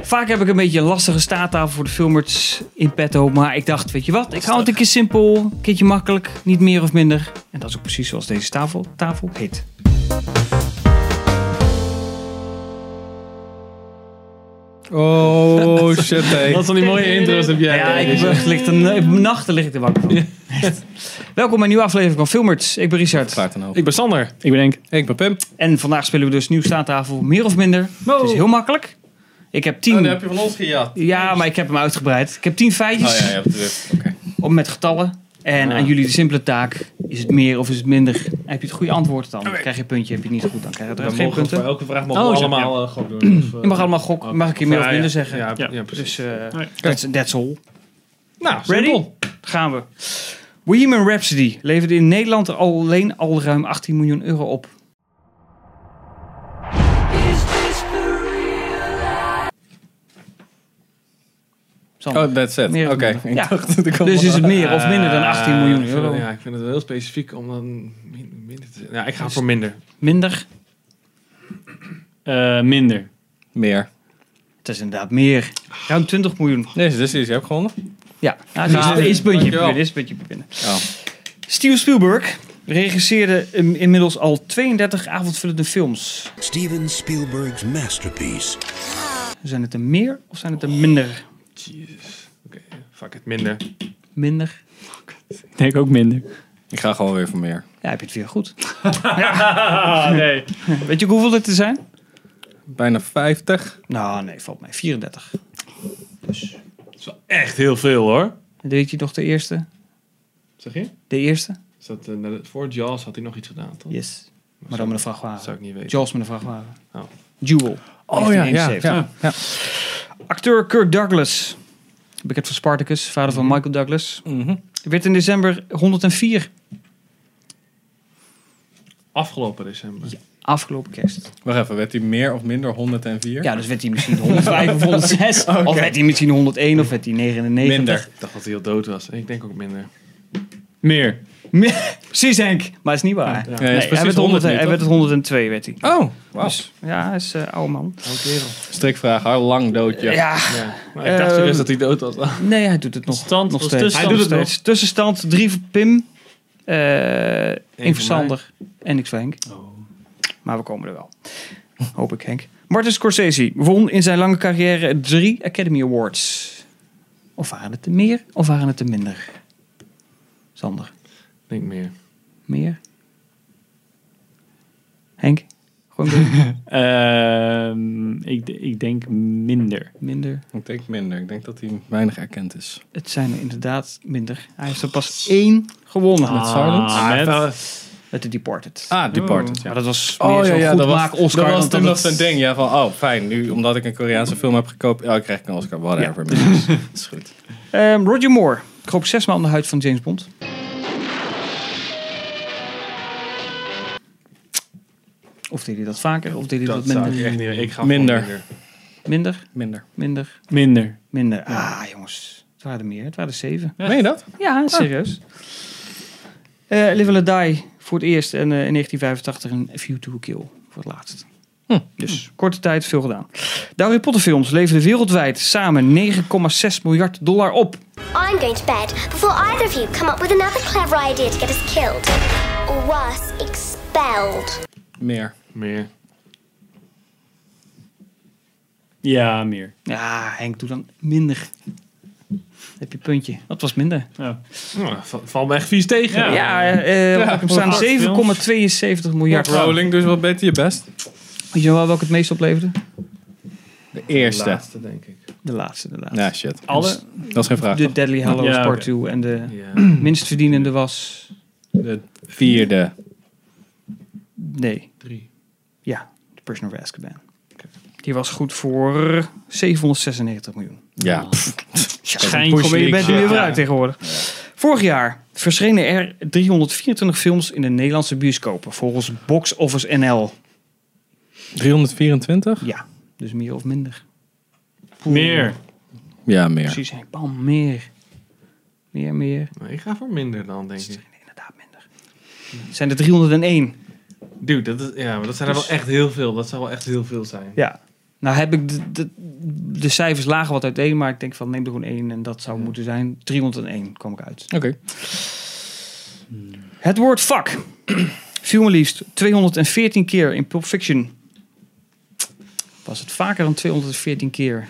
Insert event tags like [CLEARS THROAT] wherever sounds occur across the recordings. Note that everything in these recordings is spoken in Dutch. Vaak heb ik een beetje een lastige staattafel voor de filmers in petto. Maar ik dacht, weet je wat, ik hou het een keer simpel, een keertje makkelijk, niet meer of minder. En dat is ook precies zoals deze tafel, tafel heet. [LAUGHS] Oh shit, hey. Wat van die [LAUGHS] mooie intro's heb jij. Ja, ik ben- ligt een, ik- nachten lig ik te wakker van. Echt. Welkom bij een nieuwe aflevering van Filmers. Ik ben Richard. Graag dan ook. Ik ben Oh, Sander. Ik ben Henk. Ik ben Pim. En vandaag spelen we dus nieuw staattafel, meer of minder. Het is heel makkelijk. Ik heb tien... Oh, je van ons gejat. ja, maar ik heb hem uitgebreid. Ik heb tien feitjes. Oh ja, ja, natuurlijk. Oké. om met getallen. En aan jullie de simpele taak: is het meer of is het minder? En heb je het goede antwoord dan? Krijg je een puntje, heb je het niet goed, dan krijg je er geen punten. elke vraag Oh, mogen we we allemaal, allemaal eh, gewoon doen. Dus, Je mag allemaal gokken, mag ik je meer of minder zeggen? Ja, ja, Ja. precies. Dus eh Alright. that's, that's all. Nou, Ready? simpel. Gaan we. Bohemian Rhapsody leverde in Nederland alleen al ruim 18 miljoen euro op. Sander, Oh, that's it. meer Oké. of minder? Ik Ja. dacht dat ik al- Dus is het meer of minder dan 18 miljoen Eh, ik vind euro? het- Ja, ik vind het wel heel specifiek om dan min- minder te Ja, ik ga voor minder. Minder? Eh, minder. Meer. Het is inderdaad meer. Ruim 20 miljoen. Deze, deze is je hebt gewonnen. Ja, nou, dit is- Nou, dit is puntje dankjewel. binnen, dit is puntje binnen. Ja. Steven Spielberg regisseerde in- inmiddels al 32 avondvullende films. Steven Spielberg's masterpiece, Zijn het er meer of zijn het er minder? Jezus. Oké, fuck it, minder. Minder. Ik denk ook minder. Ik ga gewoon weer voor meer. Ja, heb je het weer goed. [LAUGHS] nee. Weet je ook hoeveel dit er zijn? Bijna 50. Nou, nee, valt mij. 34. Dat is wel echt heel veel hoor. En weet je nog de eerste? Zeg je? De eerste? Is dat, eh, net- voor Jaws had hij nog iets gedaan, toch? Yes. Maar dan met een Dat zou vrachtwagen. ik niet weten. Jaws met een vrachtwagen. Oh. Jewel. Oh Oh ja. 1971. ja, ja. Acteur Kirk Douglas. Bekend van Spartacus, vader van Michael Douglas. Mhm. Werd in december 104. Afgelopen december. Afgelopen kerst. Wacht even, werd hij meer of minder 104? Ja, dus werd hij misschien 105 of [LAUGHS] 106. Of werd hij misschien 101 of werd hij 99. Minder. Ik dacht dat hij heel dood was. En ik denk ook minder. Meer. Meer- [LAUGHS] Precies Henk, maar is niet waar. Ja. Nee, is Nee, precies hij, werd 100 100, nu, hij toch? werd het 102, werd hij. Oh, wauw. Dus, ja, hij is eh oude man. Oud kerel. Strikvraag, hoe lang dood je? Ja. Ja. Maar ik dacht serieus Ehm, dat hij dood was. nee, hij doet het nog, Stand nog was steeds. tussenstand. Hij doet het Nog nog. Tussenstand 3 voor Pim, eh voor 1 voor Sander en niks voor Henk. Maar we komen er wel. Hoop ik, Henk. Martin Scorsese won in zijn lange carrière drie Academy Awards. Of waren het er meer of waren het er minder? Sander. Ik denk meer. Meer? Henk? Gewoon door. [LAUGHS] Ehm, ik, d- ik denk minder. minder. Ik denk minder. Ik denk dat hij weinig erkend is. Het zijn er inderdaad minder. Hij heeft er pas Ah. één gewonnen. Met Silence? Ah, met- Met The Departed. Ah, Departed. Maar Ja. dat was meer Oh ja, zo'n ja, goed dat was, maak Oscar. dat was dan toen dat nog het- zo'n ding. Ja, van, oh fijn, nu omdat ik een Koreaanse film heb gekoopt, ja, krijg ik een Oscar, whatever. [LAUGHS] man. dat is goed. Ehm, Roger Moore kroop zes maal in de huid van James Bond. Of deed hij dat vaker, of deed hij dat, Dat zou minder? ik echt niet Ik ga voor Minder. Minder, Minder. minder, Minder. minder. Ah, jongens. Het waren er meer. Het waren er zeven. Meen je dat? Ah. Ja, serieus. Eh Live and Let Die voor het eerst en eh, in 1985 een A View to a Kill voor het laatst. Hm. Dus korte tijd veel gedaan. De Harry Potter films leverden wereldwijd samen 9,6 miljard dollar op. I'm going to bed before either of you come up with another clever idea to get us killed. Or worse, expelled. Meer. Meer. Ja, meer. Ja, Henk, doe dan minder. Heb je puntje. Dat was minder. Ja. Nou, dat va- valt me echt vies tegen. Ja, Ja. eh, eh, op hem staan Harry 7,72 miljard. Weet Rolling, dus wat beter je best. je wel welke het meest opleverde? De eerste. Laatste, denk ik. De laatste, inderdaad. Ja, shit. Alle? Dat is geen vraag. De Deadly Hallows Ja, Part oké. 2 en de Ja. minst verdienende was... De vierde. Nee, Drie. Ja, de Prisoner of Azkaban. Die was goed voor 796 miljoen. Ja. Schijn Poesje, je bent er weer Ja. vooruit tegenwoordig. Vorig jaar verschenen er 324 films in de Nederlandse bioscopen. Volgens Box Office NL. 324? Ja, dus meer of minder. [LAUGHS] Meer. Ja, meer. Precies, hè. bam, meer. Meer, meer. Maar ik ga voor minder dan, denk ik. Nee, inderdaad minder. Het zijn er 301. Dude, dat, is, Dus- ja, maar dat zijn er wel echt heel veel. Dat zou wel echt heel veel zijn. Ja. Nou heb ik de, de, de cijfers lagen wat uiteen, maar ik denk van neem er gewoon één en dat zou moeten zijn. 301 kwam ik uit. Oké. Het woord vak [CLEARS THROAT] viel maar liefst 214 keer in Pulp Fiction. Was het vaker dan 214 keer?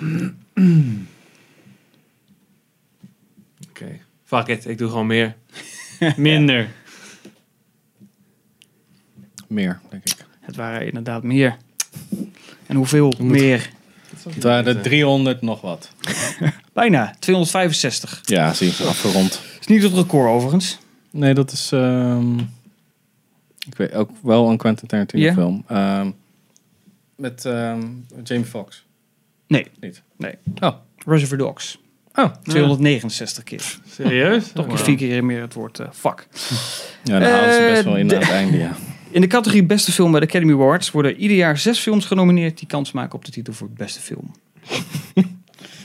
Oké. Fuck it, ik doe gewoon meer. Minder. Meer, denk ik. Het waren inderdaad meer. En hoeveel meer? Het waren er 300 nog wat. Bijna, 265. Ja, zie je, afgerond. Is niet het record overigens. Nee, dat is... ehm, ik weet ook wel een Quentin Tarantino Ja? film. Ehm, met ehm, Jamie Foxx. Nee. Niet. Nee. Oh. Reservoir Dogs. Oh. 269 keer. Serieus? Toch vier keer meer het woord eh, vak. Ja, daar halen ze Eh, best wel in de- aan het [LAUGHS] einde, ja. In de categorie Beste Film bij de Academy Awards worden ieder jaar zes films genomineerd die kans maken op de titel voor Beste Film.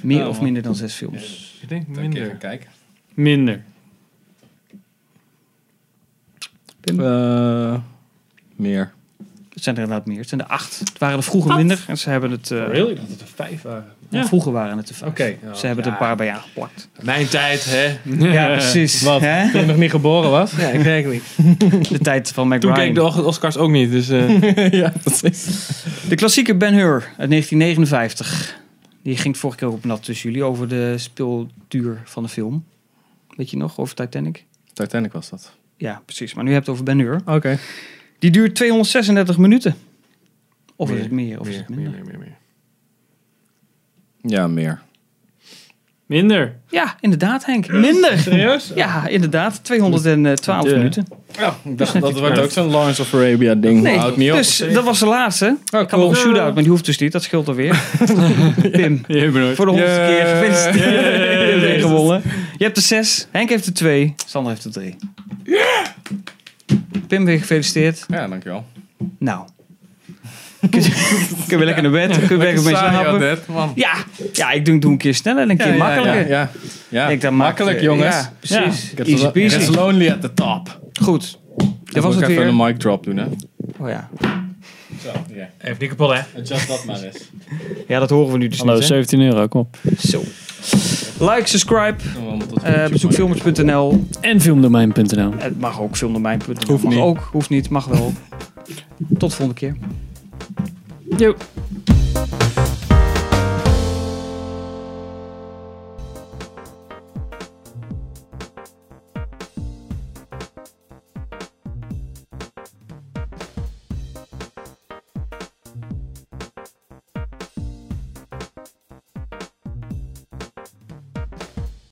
Meer Oh, of man. minder dan zes films. Ik denk Dan een keer gaan minder. kijken. Minder. Eh, meer. Het zijn er inderdaad meer. Het zijn er acht. Het waren er vroeger minder en ze hebben het. eh, Really? Dat het er vijf waren. ja, Vroeger waren het er vijf. Oké, ja. ze hebben er een paar bij aangeplakt. Mijn tijd, hè? Ja, precies. Wat? Hè? Toen ik nog niet geboren was? [LAUGHS] Ja, exactly. De tijd van Toen keek McBride. ik de Oscars ook niet, dus... eh, [LAUGHS] ja, precies. De klassieke Ben Hur uit 1959. Die ging vorige keer ook op nat tussen jullie over de speelduur van de film. Weet je nog, over Titanic? Titanic was dat. Ja, precies. Maar nu heb je het over Ben Hur. Oké. Die duurt 236 minuten. Of is Meer, het meer, of is meer, het minder? Meer, meer, meer, meer. Ja, meer. Minder. Ja, inderdaad Henk. Minder! Serieus? Ja, inderdaad. 212 Ja. minuten. Ja, Oh, ik dacht, net dat iets wordt meer. ook zo'n Lawrence of Arabia ding. Nee, Houdt niet op. dus dat was de laatste. Oh, Ik had nog een shootout, maar die hoeft dus niet. Dat scheelt alweer. Pim, Je hebt nooit. voor de honderdste keer Yeah. gewenst. Je hebt weer gewonnen. Je hebt er zes. Henk heeft er twee. Sander heeft er drie. Pim, weer gefeliciteerd. Ja, dankjewel. Nou. Kun je, kun je lekker naar bed. Kun je lekker mee slapen. net, man. Ja, ja ik doe, doe een keer sneller en een keer Ja, makkelijker. Ja, ja, ja. Ik denk, dan maak- makkelijk, eh, jongens. ja, precies. Ik heb Easy het wel- peasy. It's lonely at the top. Goed. Dat was Dan moet het ik even weer. een mic drop doen, hè. Oh ja. Zo, ja. Even niet kapot, hè? Adjust dat maar eens. ja, dat horen we nu dus Hallo, niet. hè? 17 euro, kom op. Zo. Like, subscribe. eh, bezoek filmers.nl. En filmdomein.nl. Het mag ook filmdomein.nl. Hoeft Mag [LAUGHS] niet. ook. Hoeft niet. Mag wel. Tot volgende keer. Yo.